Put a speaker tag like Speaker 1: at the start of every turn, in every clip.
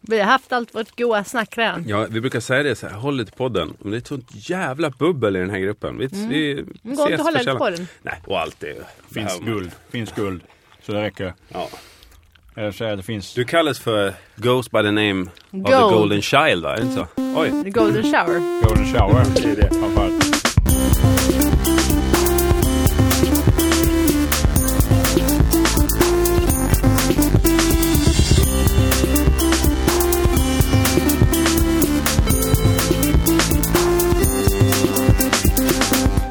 Speaker 1: Vi har haft allt vårt goa snack redan.
Speaker 2: Ja, vi brukar säga det så här, håll lite podden. Men det är ett sånt jävla bubbel i den här gruppen. Vi, mm. vi
Speaker 1: Men går inte att hålla lite på den.
Speaker 2: Nej, och allt det.
Speaker 3: Finns
Speaker 2: det här-
Speaker 3: guld. Finns guld. Så det räcker.
Speaker 2: Ja.
Speaker 3: Jag säger att det finns...
Speaker 2: Du kallas för Ghost by the name of
Speaker 1: Gold. Mm.
Speaker 2: the Golden Child, va? Är det inte så? Oj.
Speaker 1: The golden shower.
Speaker 3: Golden shower. Det är det. Framförallt.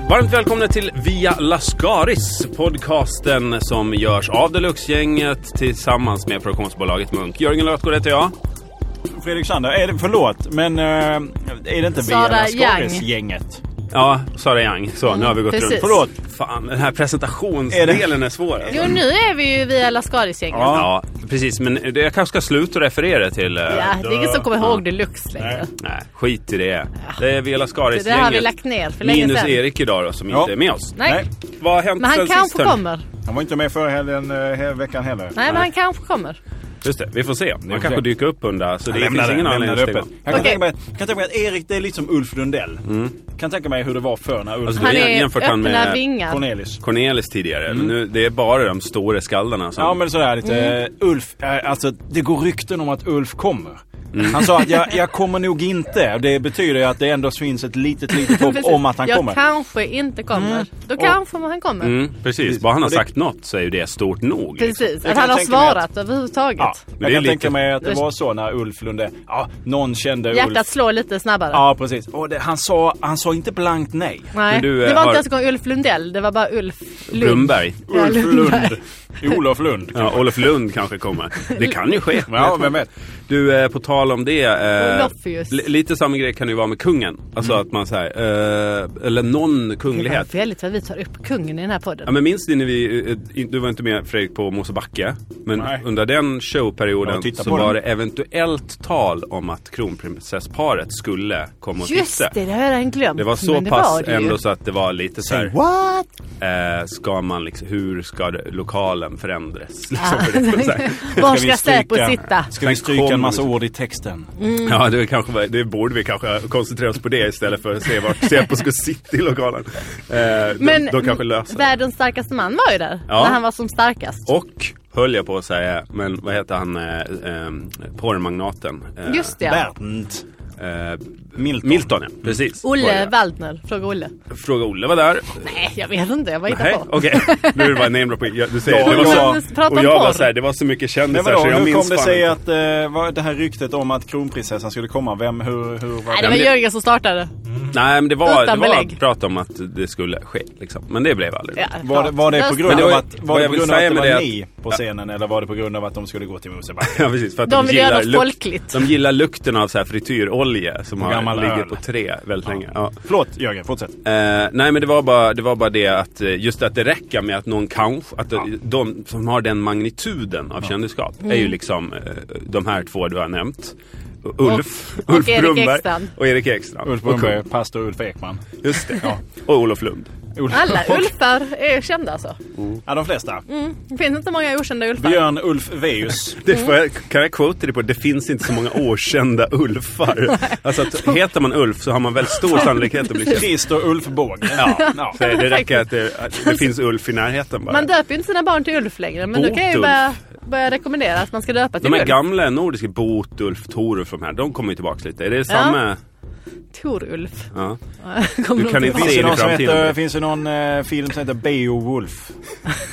Speaker 2: Varmt välkomna till Via Lascaris, podcasten som görs av Deluxe-gänget tillsammans med produktionsbolaget Munk. Jörgen Lötgård heter jag.
Speaker 3: Fredrik Sander. Är det, förlåt, men eh, är det inte
Speaker 1: Sara
Speaker 3: Vera
Speaker 1: Young.
Speaker 3: Skåris-gänget?
Speaker 2: Ja, Sara Young. Så, nu har vi gått
Speaker 1: precis.
Speaker 2: runt.
Speaker 3: Förlåt.
Speaker 2: Fan, den här presentationsdelen är, svår.
Speaker 1: Jo,
Speaker 2: Alltså.
Speaker 1: nu är vi ju via Lascaris-gänget. Ja.
Speaker 2: Ja, precis. Men det- jag kanske ska sluta referera till... eh,
Speaker 1: det är ingen som kommer ihåg deluxe längre.
Speaker 2: Nej, skit i det. Det
Speaker 1: Det där har
Speaker 2: är Via
Speaker 1: vi
Speaker 2: Lascaris-gänget.
Speaker 1: lagt ner för länge
Speaker 2: Minus
Speaker 1: sedan.
Speaker 2: Erik idag då, som
Speaker 3: Ja.
Speaker 2: inte är med oss.
Speaker 1: Nej,
Speaker 2: Vad har hänt
Speaker 1: men
Speaker 2: sen
Speaker 1: han
Speaker 2: sist,
Speaker 1: kanske
Speaker 2: hörni?
Speaker 1: kommer.
Speaker 3: Han var inte med förra helgen, eh, he- veckan heller.
Speaker 1: Nej, men han kanske kommer.
Speaker 2: Just det, vi får se.
Speaker 3: får
Speaker 2: Man kanske
Speaker 3: se.
Speaker 2: dyker upp under. Så det
Speaker 3: Jag
Speaker 2: finns
Speaker 3: lämnar
Speaker 2: ingen
Speaker 3: det, lämnar
Speaker 2: anledning
Speaker 3: det
Speaker 2: att
Speaker 3: öppet.
Speaker 2: stänga.
Speaker 3: Jag kan
Speaker 1: Okej.
Speaker 3: tänka mig- jag kan tänka mig att Erik, det är lite som Ulf Lundell. Kan tänka mig hur det var förr när Ulf
Speaker 2: Alltså,
Speaker 1: Han
Speaker 2: Vi har
Speaker 1: är
Speaker 2: jämfört
Speaker 1: öppna
Speaker 2: han med
Speaker 1: vingar.
Speaker 3: Cornelis.
Speaker 2: Cornelis tidigare. Men nu, det är bara de stora skallarna som...
Speaker 3: Mm. Ja men sådär lite.
Speaker 1: Mm.
Speaker 3: eh, Ulf, eh, alltså det går rykten om att Ulf kommer. Han sa att jag, jag kommer nog inte. Det betyder ju att det ändå finns ett litet, litet hopp om att han
Speaker 1: jag
Speaker 3: kommer.
Speaker 1: kanske inte kommer. Då kanske han kommer.
Speaker 2: Mm, precis, bara han har
Speaker 3: Och det-
Speaker 2: sagt något så är ju det stort nog. liksom.
Speaker 1: Precis,
Speaker 3: Jag
Speaker 1: att
Speaker 3: kan
Speaker 1: han har
Speaker 3: tänka mig att-
Speaker 1: svarat överhuvudtaget.
Speaker 3: Ja,
Speaker 2: det är
Speaker 3: jag kan
Speaker 2: lite-
Speaker 3: tänka mig att det
Speaker 1: Det-
Speaker 3: var så när Ulf Lunde, ja, någon kände
Speaker 1: Hjärtat
Speaker 3: Ulf.
Speaker 1: slår lite snabbare.
Speaker 3: Ja, precis. Och det, han, sa, han sa inte blankt nej.
Speaker 1: Nej,
Speaker 2: Men du, eh,
Speaker 1: det var
Speaker 2: har-
Speaker 1: inte ens en gång Ulf Lundell, det var bara Ulf Lund.
Speaker 2: Blomberg.
Speaker 1: Ja, Lundberg.
Speaker 3: Olof Lund.
Speaker 2: Ja, Olof Lund kanske kommer. Det kan ju ske.
Speaker 3: Ja, vem vet.
Speaker 2: Du, eh, på tal om det. Eh,
Speaker 1: Olofius.
Speaker 2: li- lite samma grej kan det ju vara med kungen. Alltså
Speaker 3: Mm.
Speaker 2: att man säger, eh, eller någon
Speaker 1: Det var
Speaker 2: kunglighet.
Speaker 1: väldigt vad vi tar upp kungen i den här podden.
Speaker 2: Ja, men minns ni när vi, eh, du var inte med Fredrik på Mosebacke, men
Speaker 3: Nej.
Speaker 2: under den
Speaker 3: Jag
Speaker 2: showperioden
Speaker 3: tittar
Speaker 2: så
Speaker 3: på
Speaker 2: var
Speaker 3: den.
Speaker 2: det eventuellt tal om att kronprinsessparet skulle komma och
Speaker 1: Just
Speaker 2: titta.
Speaker 1: det, det har jag redan glömt.
Speaker 2: Det var så
Speaker 1: men det
Speaker 2: pass
Speaker 1: var det ju.
Speaker 2: ändå så att det var lite så här,
Speaker 3: What?
Speaker 2: eh, ska man liksom, hur ska det, lokalen förändras? Liksom,
Speaker 1: Ah.
Speaker 2: för det, var så här.
Speaker 1: Var
Speaker 3: vi
Speaker 1: ska Säpo
Speaker 3: stryka-
Speaker 1: sitta? Mm.
Speaker 3: Ska vi
Speaker 2: Sen
Speaker 3: stryka
Speaker 2: kom-
Speaker 3: en massa ord i texten?
Speaker 2: Ja, det, kanske, var- det borde vi kanske koncentrera oss på det istället för att se vart Säpo ska sitta i lokalen. Eh,
Speaker 1: Men
Speaker 2: de, de kanske löser det.
Speaker 1: världens starkaste man var ju där.
Speaker 2: Ja.
Speaker 1: När han var som starkast.
Speaker 2: Och, höll jag på att säga, men vad heter han, eh, eh, porrmagnaten? Eh,
Speaker 1: Just det. ja.
Speaker 3: Bernt.
Speaker 2: Eh,
Speaker 3: Milton.
Speaker 2: Milton, ja. Precis. Var
Speaker 1: Olle
Speaker 2: det.
Speaker 1: Waldner. Fråga Olle.
Speaker 2: Fråga Olle var där.
Speaker 1: Nej, jag vet inte. Jag bara hittar
Speaker 2: Nej,
Speaker 1: på.
Speaker 2: okej. Nu är det bara name dropping. Jag- Du säger,
Speaker 3: Ja,
Speaker 2: det var
Speaker 3: jo,
Speaker 1: men
Speaker 2: så,
Speaker 1: prata om
Speaker 2: och jag var
Speaker 1: porr.
Speaker 2: så här, det var så mycket
Speaker 3: Men
Speaker 2: kändisar
Speaker 3: vadå,
Speaker 2: så jag
Speaker 3: hur
Speaker 2: minns
Speaker 3: kom det
Speaker 2: fan
Speaker 3: sig
Speaker 2: inte.
Speaker 3: att eh, vad, det här ryktet om att kronprinsessan skulle komma? Vem, hur, hur var
Speaker 1: Nej,
Speaker 3: det?
Speaker 1: det var
Speaker 2: men-
Speaker 1: Jörgen som startade.
Speaker 2: Nej, men det var, det
Speaker 1: Utan
Speaker 2: var
Speaker 1: belägg.
Speaker 2: prat om att det skulle ske. Liksom. Men det blev aldrig.
Speaker 1: Ja,
Speaker 3: Var det, var det på
Speaker 1: löst
Speaker 3: grund
Speaker 2: Men
Speaker 1: det.
Speaker 2: det
Speaker 3: av
Speaker 2: var-
Speaker 3: att,
Speaker 2: vad
Speaker 3: var det
Speaker 2: jag
Speaker 3: på
Speaker 2: vill
Speaker 3: grund av
Speaker 2: säga
Speaker 3: att det
Speaker 2: med det är
Speaker 3: var
Speaker 2: att-
Speaker 3: ni på scenen eller var det på grund av att de skulle gå till Mosebacke?
Speaker 2: Ja, precis, för att
Speaker 1: De
Speaker 2: de,
Speaker 1: vill göra
Speaker 2: gillar
Speaker 1: något folkligt.
Speaker 2: de gillar lukten av så här frityrolja som har
Speaker 3: gammal
Speaker 2: ligger
Speaker 3: öl.
Speaker 2: på tre väldigt länge. Ja.
Speaker 3: Förlåt Jörgen, fortsätt.
Speaker 2: Eh, nej men det var, bara, det var bara det att eh, just att det räcker med att någon kanske, att de, de som har den magnituden av kändisskap är
Speaker 1: Mm.
Speaker 2: ju liksom eh, de här två du har nämnt. Ulf,
Speaker 1: och
Speaker 2: Ulf
Speaker 1: Erik
Speaker 2: Brumberg
Speaker 1: Ekstrand.
Speaker 2: och Erik Ekstrand.
Speaker 3: Ulf
Speaker 2: Och
Speaker 3: Brunnberg,
Speaker 2: kung.
Speaker 3: pastor Ulf Ekman.
Speaker 2: Just det. Och Olof Lund.
Speaker 3: Ulf-
Speaker 1: Alla
Speaker 3: och-
Speaker 1: Ulfar är kända alltså.
Speaker 3: Ja, de flesta.
Speaker 2: Mm.
Speaker 1: Det finns inte många okända Ulfar.
Speaker 3: Björn Ulf Veus.
Speaker 2: Det får jag, kan jag quote det på? Det finns inte så många årkända Ulfar. Alltså att heter man Ulf så har man väldigt stor sannolikhet att bli känd.
Speaker 3: Christer Ulf Båge. Ja, ja.
Speaker 2: Så det räcker att det, att det finns Ulf i närheten bara.
Speaker 1: Man döper ju inte sina barn till Ulf längre. Men nu kan jag ju
Speaker 2: Botulf.
Speaker 1: börja, börja rekommendera att man ska döpa till
Speaker 2: De här
Speaker 1: Ulf.
Speaker 2: gamla nordiska, Botulf, Torulf, de här, de kommer ju tillbaka lite. Är det samma?
Speaker 1: Tor-Ulf.
Speaker 2: Ja.
Speaker 1: Kommer
Speaker 2: Du
Speaker 1: de
Speaker 2: kan inte
Speaker 1: tillbaka?
Speaker 3: Finns
Speaker 2: se
Speaker 3: det
Speaker 2: in i
Speaker 3: någon, som heter,
Speaker 2: framtiden.
Speaker 3: finns det någon eh, film som heter Beowulf?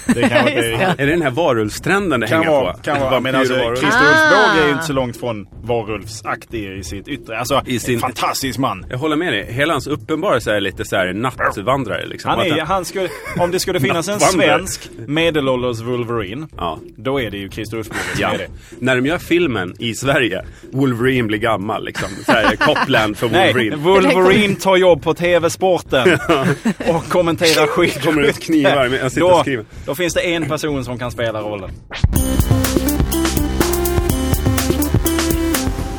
Speaker 3: Det kan vara, det
Speaker 2: Är det den här varulvstrenden det
Speaker 3: kan
Speaker 2: hänger
Speaker 3: vara,
Speaker 2: på?
Speaker 3: kan vara men alltså,
Speaker 2: Vampyr och varulv.
Speaker 3: Christer Ulf Båge är ju
Speaker 1: Ah.
Speaker 3: inte så långt från varulvsaktig i sitt yttre. Alltså,
Speaker 2: I sin-
Speaker 3: en fantastisk man.
Speaker 2: Jag håller med dig. Hela hans uppenbarelse är lite så här nattvandrare liksom.
Speaker 3: Han
Speaker 2: Att
Speaker 3: är, han skulle, om det skulle finnas en
Speaker 2: Nattvandrare.
Speaker 3: svensk medelålders Wolverine,
Speaker 2: Ja.
Speaker 3: då är det ju Christer Ulfsborg som
Speaker 2: Ja.
Speaker 3: är det.
Speaker 2: När de gör filmen i Sverige, Wolverine blir gammal liksom. Så här, Copland för
Speaker 3: Nej,
Speaker 2: Wolverine.
Speaker 3: Wolverine tar jobb på TV-sporten och kommenterar skit.
Speaker 2: Kommer ut knivar medan han sitter och
Speaker 3: Då,
Speaker 2: skriver.
Speaker 3: då finns det en person som kan spela rollen.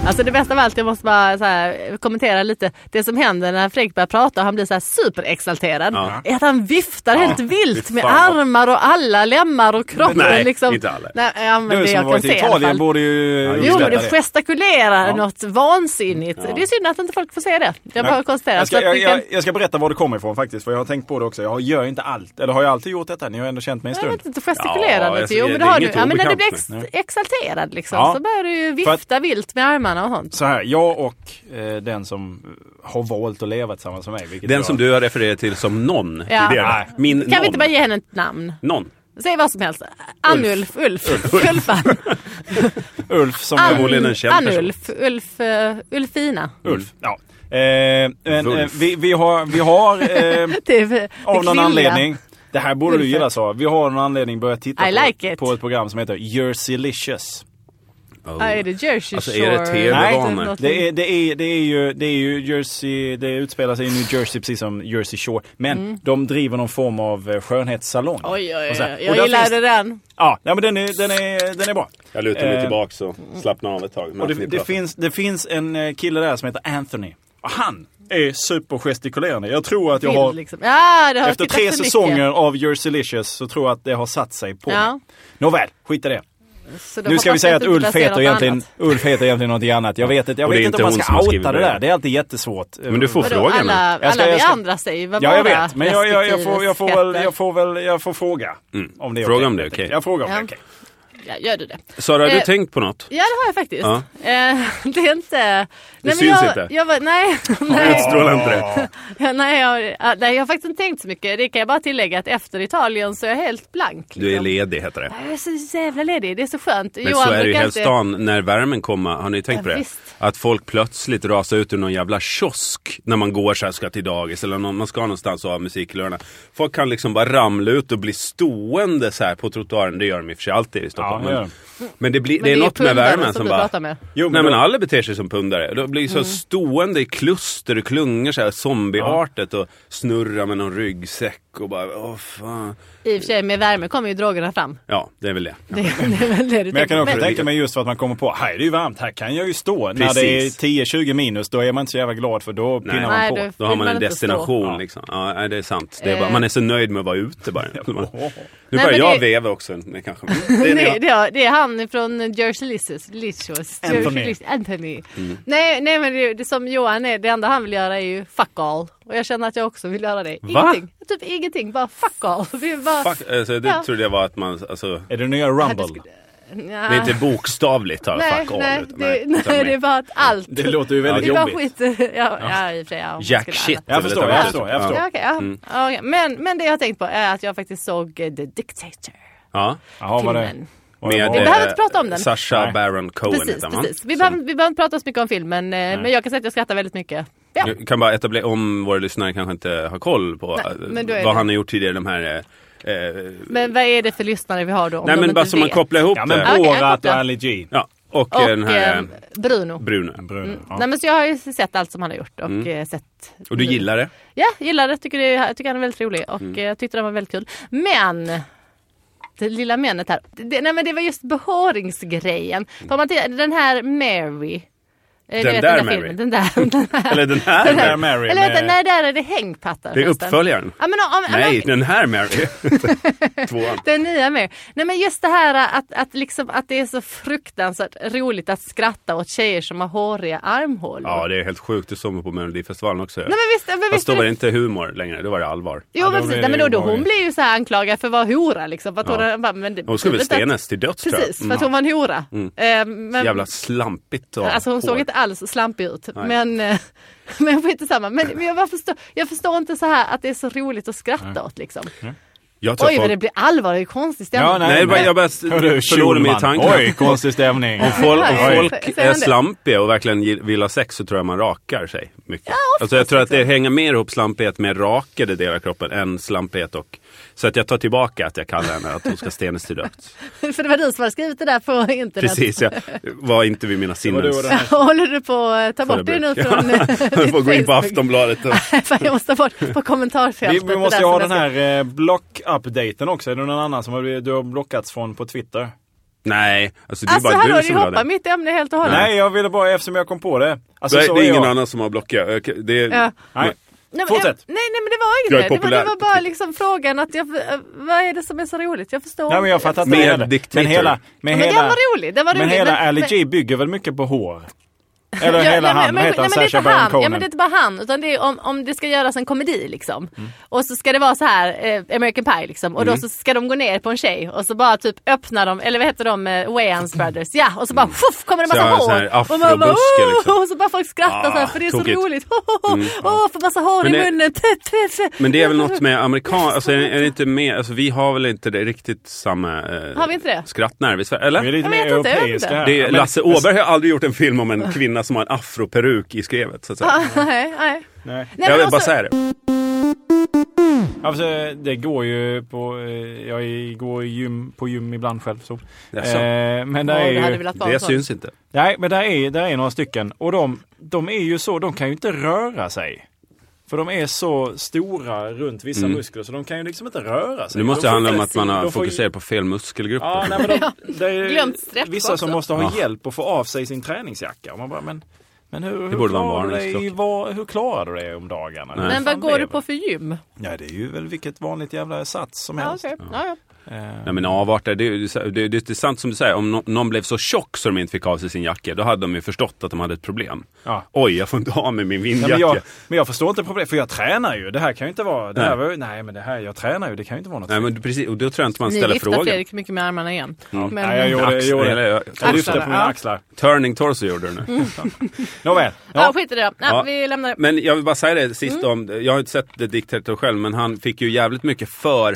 Speaker 1: Alltså det bästa av allt, jag måste bara så här, kommentera lite. Det som händer när Fredrik börjar prata och han blir så här superexalterad
Speaker 2: Ja.
Speaker 1: är att han viftar helt vilt
Speaker 2: fy
Speaker 1: med
Speaker 2: fan vad-
Speaker 1: armar och alla lemmar och kroppen.
Speaker 2: Nej,
Speaker 1: liksom.
Speaker 2: inte alla.
Speaker 1: Nej, ja, men
Speaker 3: Du
Speaker 1: det
Speaker 3: som har
Speaker 1: jag kan
Speaker 3: varit i
Speaker 1: se i alla
Speaker 3: Italien
Speaker 1: fall.
Speaker 3: borde ju
Speaker 2: Ja,
Speaker 1: Jo,
Speaker 2: just
Speaker 1: men
Speaker 3: uppskatta
Speaker 1: det gestikulerar
Speaker 3: Ja.
Speaker 1: något vansinnigt. Det är synd att inte folk får se det. Jag bara konstaterar.
Speaker 3: Jag
Speaker 1: så
Speaker 3: ska,
Speaker 1: att
Speaker 3: jag,
Speaker 1: vi kan-
Speaker 3: jag, jag ska berätta var det kommer ifrån faktiskt, för jag har tänkt på det också. Jag gör inte allt, eller har jag alltid gjort detta? Ni har ändå känt mig en
Speaker 1: Jag
Speaker 3: stund.
Speaker 1: vet inte, gestikulerande.
Speaker 2: Ja,
Speaker 1: till- jo,
Speaker 2: det-
Speaker 1: men
Speaker 2: det
Speaker 1: det
Speaker 2: är
Speaker 1: har du.
Speaker 2: inget
Speaker 1: Ja, men när du blir
Speaker 2: obekant
Speaker 1: ex- exalterad liksom,
Speaker 3: Ja.
Speaker 1: så börjar du ju
Speaker 3: För
Speaker 1: vifta
Speaker 3: att-
Speaker 1: vilt med armarna och sånt.
Speaker 3: Så här, jag och eh, den som eh, har valt att leva tillsammans med mig. vilket
Speaker 2: Den
Speaker 3: jag-
Speaker 2: som du har refererat till som någon.
Speaker 1: Ja.
Speaker 2: i det.
Speaker 3: Nej.
Speaker 2: Min
Speaker 1: Kan
Speaker 2: någon.
Speaker 1: vi inte bara ge henne ett namn?
Speaker 2: någon.
Speaker 1: Säg vad som helst. Ann-Ulf, Ulf, Ulfan,
Speaker 3: Ulf som...
Speaker 1: Ann-
Speaker 3: jag-
Speaker 2: Förmodligen en känd person.
Speaker 1: Ann-Ulf, Ulf, eh, Ulfina.
Speaker 3: Ulf. Ja. Eh, men, eh,
Speaker 2: Wulf.
Speaker 3: vi, vi har, vi har eh,
Speaker 1: Det är, det är
Speaker 3: av någon
Speaker 1: Typ, kvinnliga.
Speaker 3: anledning, det här borde du
Speaker 1: Ulf.
Speaker 3: gilla så. vi har av någon anledning börjat titta
Speaker 1: I
Speaker 3: på,
Speaker 1: like it.
Speaker 3: på ett program som heter Jerseylicious.
Speaker 2: Oh.
Speaker 1: Ja, Ah, är det Jersey
Speaker 2: Alltså,
Speaker 1: Shore?
Speaker 2: är det TV-vanor?
Speaker 1: Nej, typ något-
Speaker 3: Det är, det, är, det, är ju, det är ju Jersey, det utspelar sig i New Jersey precis som Jersey Shore. Men de driver någon form av eh, skönhetssalong.
Speaker 1: Mm. Oj, oj,
Speaker 3: Och
Speaker 1: oj.
Speaker 3: så här. Och
Speaker 1: Jag
Speaker 3: där
Speaker 1: gillade
Speaker 3: finns-
Speaker 1: den.
Speaker 3: Ja, nej, men den är, den, är, den är bra.
Speaker 2: Jag lutar mig
Speaker 3: Eh,
Speaker 2: tillbaka och slappnar av ett tag. medan
Speaker 3: Och det,
Speaker 2: ni
Speaker 3: det,
Speaker 2: pratar.
Speaker 3: finns, det finns en eh, kille där som heter Anthony. Och han är supergestikulerande. Jag tror att jag
Speaker 1: Bild,
Speaker 3: har...
Speaker 1: liksom. ja, det har jag
Speaker 3: Efter
Speaker 1: tittat
Speaker 3: tre
Speaker 1: för
Speaker 3: säsonger
Speaker 1: mycket.
Speaker 3: av Jerseylicious så tror jag att det har satt sig på
Speaker 1: Ja.
Speaker 3: mig. Nåväl, skit i det.
Speaker 1: Så då
Speaker 3: Nu ska vi
Speaker 1: hoppas jag
Speaker 3: säga
Speaker 1: att
Speaker 3: att
Speaker 1: du inte
Speaker 3: Ulf
Speaker 1: placerar
Speaker 3: heter,
Speaker 1: något
Speaker 3: egentligen,
Speaker 1: annat.
Speaker 3: Ulf heter egentligen något annat. Jag vet inte, jag
Speaker 2: Och det
Speaker 3: vet
Speaker 2: är
Speaker 3: inte
Speaker 2: inte
Speaker 3: om man
Speaker 2: hon
Speaker 3: ska
Speaker 2: som har skrivit
Speaker 3: outa det
Speaker 2: det.
Speaker 3: där. Det är alltid jättesvårt.
Speaker 2: Men du får
Speaker 1: Vadå,
Speaker 2: frågan.
Speaker 1: alla, alla
Speaker 2: nu.
Speaker 3: Jag ska- jag
Speaker 1: vi
Speaker 3: ska-
Speaker 1: andra säger vad
Speaker 3: Ja, jag
Speaker 1: våra
Speaker 3: vet. Men jag, jag, jag, får, jag, får, väl,
Speaker 1: respektive
Speaker 3: jag, får väl, jag får fråga. Om det
Speaker 2: Mm.
Speaker 3: är
Speaker 2: Fråga
Speaker 3: okej,
Speaker 2: om det är
Speaker 3: helt
Speaker 2: okej.
Speaker 3: enkelt. Jag frågar om det är
Speaker 1: Ja.
Speaker 3: okej.
Speaker 1: Ja, gör du det?
Speaker 2: Sara, har du
Speaker 1: Eh,
Speaker 2: tänkt på något?
Speaker 1: Ja, det har jag faktiskt.
Speaker 2: Ja.
Speaker 1: Eh, det är inte... Det
Speaker 2: syns
Speaker 1: jag,
Speaker 2: inte.
Speaker 1: Jag var, nej, nej,
Speaker 2: Utstrålar inte det.
Speaker 1: nej, jag, ja, nej, jag har faktiskt inte tänkt så mycket. Det kan jag bara tillägga att efter Italien så är jag helt blank.
Speaker 2: Du är
Speaker 1: liksom.
Speaker 2: ledig heter det.
Speaker 1: Jag är så jävla ledig. Det är så skönt.
Speaker 2: Men så är det ju i
Speaker 1: brukar
Speaker 2: hela
Speaker 1: alltid-
Speaker 2: stan när värmen kommer. Har ni tänkt
Speaker 1: Ja,
Speaker 2: på det?
Speaker 1: visst.
Speaker 2: Att folk plötsligt rasar ut ur någon jävla kiosk när man går så här, ska till dagis eller någon, man ska någonstans och ha musikhörna. Folk kan liksom bara ramla ut och bli stående så här på trottoaren. Det gör de i och för sig alltid i Stockholm.
Speaker 3: Ja, det
Speaker 2: men, men det, blir,
Speaker 1: Men
Speaker 2: det är
Speaker 1: ju
Speaker 2: något med
Speaker 1: pundare
Speaker 2: värmen som
Speaker 1: du
Speaker 2: bara...
Speaker 1: pratar med. Mm.
Speaker 3: Jo,
Speaker 2: Nej
Speaker 3: men
Speaker 2: men
Speaker 3: då,
Speaker 2: alla beter sig som pundare. De blir så stående i kluster och klungor så här zombieartet och snurrar med någon ryggsäck och bara åh fan.
Speaker 1: I och för sig, med värme kommer ju drogerna fram.
Speaker 2: Ja, det är väl det.
Speaker 1: Det, det är väl det du
Speaker 3: men
Speaker 1: tänker
Speaker 3: jag kan
Speaker 1: på.
Speaker 3: också
Speaker 1: Men-
Speaker 3: tänka mig just för att man kommer på, här är det ju varmt, här kan jag ju stå. När det
Speaker 2: Precis.
Speaker 3: är 10-20 minus, då är man inte så jävla glad för då
Speaker 2: Nej.
Speaker 3: pinnar man
Speaker 1: Nej,
Speaker 3: på.
Speaker 1: du-
Speaker 2: Då har
Speaker 1: Vill
Speaker 2: man
Speaker 1: man
Speaker 2: en
Speaker 1: inte
Speaker 2: destination
Speaker 3: stå?
Speaker 2: liksom. Ja, nej, det är sant. Det är bara,
Speaker 1: Eh.
Speaker 2: man är så nöjd med att vara ute bara. Man, nu
Speaker 1: men
Speaker 2: börjar jag
Speaker 1: det-
Speaker 2: veva också. Det kanske. Det är det
Speaker 1: Nej,
Speaker 2: jag-
Speaker 1: det, är, det är han från Jersey Licious. Licious.
Speaker 3: Anthony.
Speaker 1: Jersey Licious- Anthony.
Speaker 2: Mm.
Speaker 1: Nej, nej men det, det som Johan är, det enda han vill göra är ju fuck all. Och jag känner att jag också vill göra det.
Speaker 2: Va?
Speaker 1: Ingenting. Typ ingenting, bara fuck all. Det är bara,
Speaker 2: Fuck, alltså, det
Speaker 1: Ja.
Speaker 2: trodde jag var att man, alltså,
Speaker 3: Är det nya
Speaker 1: det
Speaker 3: Rumble?
Speaker 1: skulle-
Speaker 2: det är inte bokstavligt här,
Speaker 1: nej,
Speaker 2: fuck all.
Speaker 1: nej,
Speaker 2: utan-
Speaker 1: det,
Speaker 2: utan
Speaker 1: nej,
Speaker 2: mer
Speaker 1: det är bara att allt.
Speaker 3: Det låter ju
Speaker 1: det
Speaker 3: väldigt
Speaker 1: är bara
Speaker 3: jobbigt.
Speaker 1: skit. Ja, ja, i och för sig, ja, om man
Speaker 2: Jack
Speaker 1: skulle
Speaker 2: shit. mm.
Speaker 1: alla-
Speaker 3: Jag förstår,
Speaker 2: Eller
Speaker 3: jag
Speaker 2: det
Speaker 3: förstår,
Speaker 2: var-
Speaker 3: jag förstår.
Speaker 1: Ja, okej, ja. Okej, Men, men det jag har tänkt på är att jag faktiskt såg eh, The Dictator.
Speaker 2: Ja,
Speaker 3: Jaha, vad det?
Speaker 1: Filmen.
Speaker 3: vad det var.
Speaker 1: Vi behöver
Speaker 2: eh,
Speaker 1: inte prata om den.
Speaker 2: Sacha
Speaker 3: Nej.
Speaker 2: Baron Cohen
Speaker 1: Precis,
Speaker 2: heter han, va?
Speaker 1: precis. Vi
Speaker 2: Som-
Speaker 1: behöver, vi behöver inte prata så mycket om filmen, eh, men jag kan säga att jag skrattar väldigt mycket. Ja.
Speaker 2: Jag kan bara etablera, om våra lyssnare kanske inte har koll på
Speaker 1: Nej,
Speaker 2: eh,
Speaker 1: men då är
Speaker 2: vad
Speaker 1: det-
Speaker 2: han har gjort tidigare. De här, eh, eh,
Speaker 1: Men vad är det för lyssnare vi har då? Om
Speaker 2: nej
Speaker 1: de
Speaker 2: men
Speaker 1: inte
Speaker 2: bara så man
Speaker 1: vet?
Speaker 2: kopplar ihop
Speaker 3: Ja,
Speaker 2: det.
Speaker 3: men
Speaker 1: jag
Speaker 3: Borat och
Speaker 1: fattar.
Speaker 3: Ali G.
Speaker 2: Ja, och, eh,
Speaker 1: Och
Speaker 2: den här eh,
Speaker 1: eh, Bruno.
Speaker 2: Bruno.
Speaker 3: Brun, ja.
Speaker 1: Mm. Nej, men så jag har ju sett allt som han har gjort och eh, sett.
Speaker 2: Mm. Och du gillar det?
Speaker 1: Ja, gillar det. Tycker, det, jag tycker han är väldigt rolig och
Speaker 2: Mm.
Speaker 1: eh, jag tyckte den var väldigt kul. Men det lilla menet här. Det, nej men det var just behåringsgrejen. För om man tittar, den här Mary. eh, du
Speaker 2: Mm. Den
Speaker 1: vet,
Speaker 2: där
Speaker 1: här
Speaker 2: Mary.
Speaker 1: filmen, Den där, den här.
Speaker 2: Eller den här? Mary?
Speaker 3: Där Mary
Speaker 1: Eller vänta,
Speaker 3: med...
Speaker 1: nej där är det hängpattar.
Speaker 2: Det är
Speaker 1: förresten.
Speaker 2: uppföljaren.
Speaker 1: Ja, men, om, om,
Speaker 2: Nej, den här Mary. Tvåan.
Speaker 1: Den nya mer. Nej men just det här att, att, liksom, att det är så fruktansvärt roligt att skratta åt tjejer som har håriga armhålor.
Speaker 2: Ja, det är helt sjukt. Det såg man på Melodifestivalen också.
Speaker 1: Nej men visst, men
Speaker 2: Fast
Speaker 1: visst
Speaker 2: då
Speaker 1: är
Speaker 2: var
Speaker 1: det...
Speaker 2: det inte humor längre, då var det allvar.
Speaker 1: Jo
Speaker 3: Ja,
Speaker 1: men
Speaker 3: då
Speaker 1: precis,
Speaker 3: blir
Speaker 1: nej, men
Speaker 3: det
Speaker 1: då,
Speaker 3: ju
Speaker 1: då hon
Speaker 3: obehagligt.
Speaker 1: blev ju så här anklagad för att vara hora liksom. För att
Speaker 2: Ja.
Speaker 1: hon, bara, men det,
Speaker 2: Hon skulle väl
Speaker 1: att-
Speaker 2: stenas till döds tror jag. Mm.
Speaker 1: Precis, för att hon var en hora. Eh, men,
Speaker 2: Jävla slampigt och
Speaker 1: Alltså hon såg
Speaker 2: hår.
Speaker 1: inte alls slampig ut.
Speaker 2: Nej.
Speaker 1: Men, eh, men skit i samma. Men, men jag, bara förstår, jag förstår inte så här att det är så roligt att skratta åt liksom.
Speaker 2: Jag tror
Speaker 1: Oj vad
Speaker 2: Mm. folk...
Speaker 1: det blir allvarligt konstig stämning.
Speaker 3: Ja, nej.
Speaker 2: Nej, jag bara, jag bara
Speaker 3: Hör du,
Speaker 2: förlorade mig i
Speaker 3: Schulman.
Speaker 2: tanken.
Speaker 3: Oj, konstig stämning.
Speaker 2: Om folk, om
Speaker 1: Oj.
Speaker 2: folk
Speaker 1: Säger
Speaker 2: är
Speaker 1: han det?
Speaker 2: slampiga och verkligen gill- vill ha sex så tror jag man rakar sig mycket.
Speaker 1: oftast
Speaker 2: alltså jag tror att det
Speaker 1: liksom.
Speaker 2: hänger mer ihop slampighet med rakade delar av kroppen än slampighet och... Så att jag tar tillbaka att jag kallar henne att hon ska stenas till döds.
Speaker 1: För det var du som hade skrivit det där på internet.
Speaker 2: Precis, jag var inte vid mina
Speaker 3: var du och
Speaker 2: sinnens...
Speaker 3: den här
Speaker 1: Håller du på att ta bort det nu
Speaker 2: förebruk.
Speaker 1: från eh,
Speaker 2: Jag
Speaker 1: ditt
Speaker 2: får gå in på
Speaker 1: Facebook?
Speaker 2: Aftonbladet och...
Speaker 1: Fan, jag måste ta bort på
Speaker 3: Vi,
Speaker 1: kommentarsfältet.
Speaker 3: vi
Speaker 1: det
Speaker 3: måste
Speaker 1: där
Speaker 3: ju ha
Speaker 1: som
Speaker 3: den
Speaker 1: jag
Speaker 3: här eh, block-updaten också. Är det någon annan som har, du har blockats från på Twitter?
Speaker 2: Nej, alltså det är
Speaker 1: Alltså
Speaker 2: bara
Speaker 1: hallå,
Speaker 2: du
Speaker 1: ni
Speaker 2: som vill ha
Speaker 1: hoppar
Speaker 2: den.
Speaker 1: mitt ämne helt och hållet.
Speaker 3: Nej, jag ville bara eftersom jag kom på det. Alltså,
Speaker 2: Nej,
Speaker 3: så
Speaker 2: det är
Speaker 3: är
Speaker 2: ingen
Speaker 3: jag.
Speaker 2: annan som har blockat. Jag kan- Det är,
Speaker 1: Ja.
Speaker 3: Nej.
Speaker 1: Nej, men-
Speaker 3: Fortsätt.
Speaker 1: Nej, nej men det var
Speaker 2: Jag är
Speaker 1: inget det. var- Det
Speaker 2: populär.
Speaker 1: var bara liksom frågan att jag, eh, vad är det som är så roligt? Jag förstår
Speaker 3: Nej, men jag fattar inte
Speaker 2: Med
Speaker 3: heller.
Speaker 2: diktator.
Speaker 3: Men hela... Men
Speaker 1: Men
Speaker 3: hela...
Speaker 1: den var rolig. Den var rolig.
Speaker 3: Men hela Ali
Speaker 1: men-
Speaker 3: G bygger väl mycket på hår? Eller
Speaker 1: Ja, nej,
Speaker 3: hela
Speaker 1: men-
Speaker 3: han,
Speaker 1: men-
Speaker 3: vad heter han?
Speaker 1: nej, men det är
Speaker 3: Sacha
Speaker 1: inte
Speaker 3: Baron
Speaker 1: han. Ja
Speaker 3: Cohen?
Speaker 1: men det är inte bara han utan det är om, om det ska göras en komedi liksom.
Speaker 3: Mm.
Speaker 1: Och så ska det vara så här eh, American Pie liksom och då så ska de gå ner på en tjej och så bara typ öppnar de, eller vad heter de, eh, Wayans
Speaker 3: Mm.
Speaker 1: Brothers. Ja och så bara fuff kommer det en massa
Speaker 2: Så, så
Speaker 1: hår.
Speaker 2: här
Speaker 1: och, man bara,
Speaker 2: afrobuske,
Speaker 1: "Oh!"
Speaker 2: liksom.
Speaker 1: och så bara folk skrattar så här
Speaker 2: Ah,
Speaker 1: för det är så
Speaker 2: tokigt.
Speaker 1: roligt. Åh,
Speaker 3: Mm.
Speaker 1: får massa hår
Speaker 2: Men
Speaker 1: i
Speaker 2: det-
Speaker 1: munnen.
Speaker 2: Men det är väl något med amerikan... Alltså är, är det inte med... Alltså vi har väl inte det riktigt samma... Eh,
Speaker 1: Har vi inte det?
Speaker 2: Skrattnerv i Sverige, eller?
Speaker 3: Vi är lite
Speaker 1: Jag vet
Speaker 3: mer
Speaker 1: inte, jag vet
Speaker 3: europeiska
Speaker 1: inte.
Speaker 3: här.
Speaker 2: Det är,
Speaker 3: Men-
Speaker 2: Lasse Åberg har aldrig gjort en film om en kvinna som har en afroperuk i skrevet. Så att säga.
Speaker 1: Nej, nej.
Speaker 3: Nej.
Speaker 1: Nej,
Speaker 2: jag
Speaker 1: men alltså,
Speaker 2: vill bara
Speaker 1: också-
Speaker 2: säga det.
Speaker 3: Alltså, det går ju på... eh, Jag går i gym, på gym ibland själv. Så.
Speaker 2: Jaså?
Speaker 3: Eh, men där
Speaker 1: Åh, det
Speaker 3: är
Speaker 1: hade
Speaker 3: ju...
Speaker 1: velat vara
Speaker 2: Det
Speaker 1: så.
Speaker 2: syns inte.
Speaker 3: Nej, men där är, där är några stycken. Och de, de är ju så, de kan ju inte röra sig. För de är så stora runt vissa muskler så de kan ju liksom inte röra sig.
Speaker 2: Mm. Det måste
Speaker 3: de får
Speaker 2: handla om
Speaker 3: inte-
Speaker 2: att man har
Speaker 3: de får ju-
Speaker 2: fokuserat på fel muskelgrupper.
Speaker 3: Ja, nej, men de, det är ju
Speaker 1: Glömt stretch
Speaker 3: vissa som
Speaker 1: också.
Speaker 3: måste ha hjälp att få av sig sin träningsjacka. Och man bara, men, men hur, hur,
Speaker 2: borde vara en
Speaker 3: klarar du dig, i
Speaker 2: varningsklocka.
Speaker 3: var, hur klarar du dig om dagarna?
Speaker 2: Nej.
Speaker 3: Hur
Speaker 1: Men
Speaker 3: fan
Speaker 1: vad går
Speaker 3: lever
Speaker 1: du på för gym?
Speaker 3: Ja, det är ju väl vilket vanligt jävla sats som
Speaker 1: Ja,
Speaker 3: helst.
Speaker 1: okej. Ja, ja.
Speaker 3: Eh,
Speaker 2: Nej men avarter, det, är ju så- det, det, det är sant som du säger. Om no, någon blev så tjock så de inte fick av sig sin jacka, då hade de ju förstått att de hade ett problem.
Speaker 3: Ja.
Speaker 2: Oj, jag får inte ha med min
Speaker 3: Nej,
Speaker 2: vindjacka.
Speaker 3: men, jag, men jag förstår inte problemet, för jag tränar ju. Det här kan ju inte vara... Det här
Speaker 2: Nej.
Speaker 3: var, ju- nej, men det här, jag tränar ju. Det kan ju inte vara något
Speaker 2: Nej, men precis, och då tror jag inte man
Speaker 1: Ni
Speaker 2: ställer
Speaker 1: viftar
Speaker 2: frågan.
Speaker 1: Fredrik mycket med armarna igen. Men,
Speaker 3: Nej, jag gjorde, jag
Speaker 2: Axlar,
Speaker 3: gjorde.
Speaker 2: eller,
Speaker 3: Jag
Speaker 2: jag-
Speaker 1: Axlar,
Speaker 3: lyfte på mina
Speaker 1: ja.
Speaker 3: axlar.
Speaker 2: Turning torso gjorde du nu.
Speaker 3: Nåväl.
Speaker 1: ja.
Speaker 3: Ja.
Speaker 1: skit i det då. Nej,
Speaker 2: Ja.
Speaker 1: Vi lämnar det.
Speaker 2: Men jag vill bara säga det sist
Speaker 1: Mm.
Speaker 2: om, jag har inte sett The Dictator själv, men han fick ju jävligt mycket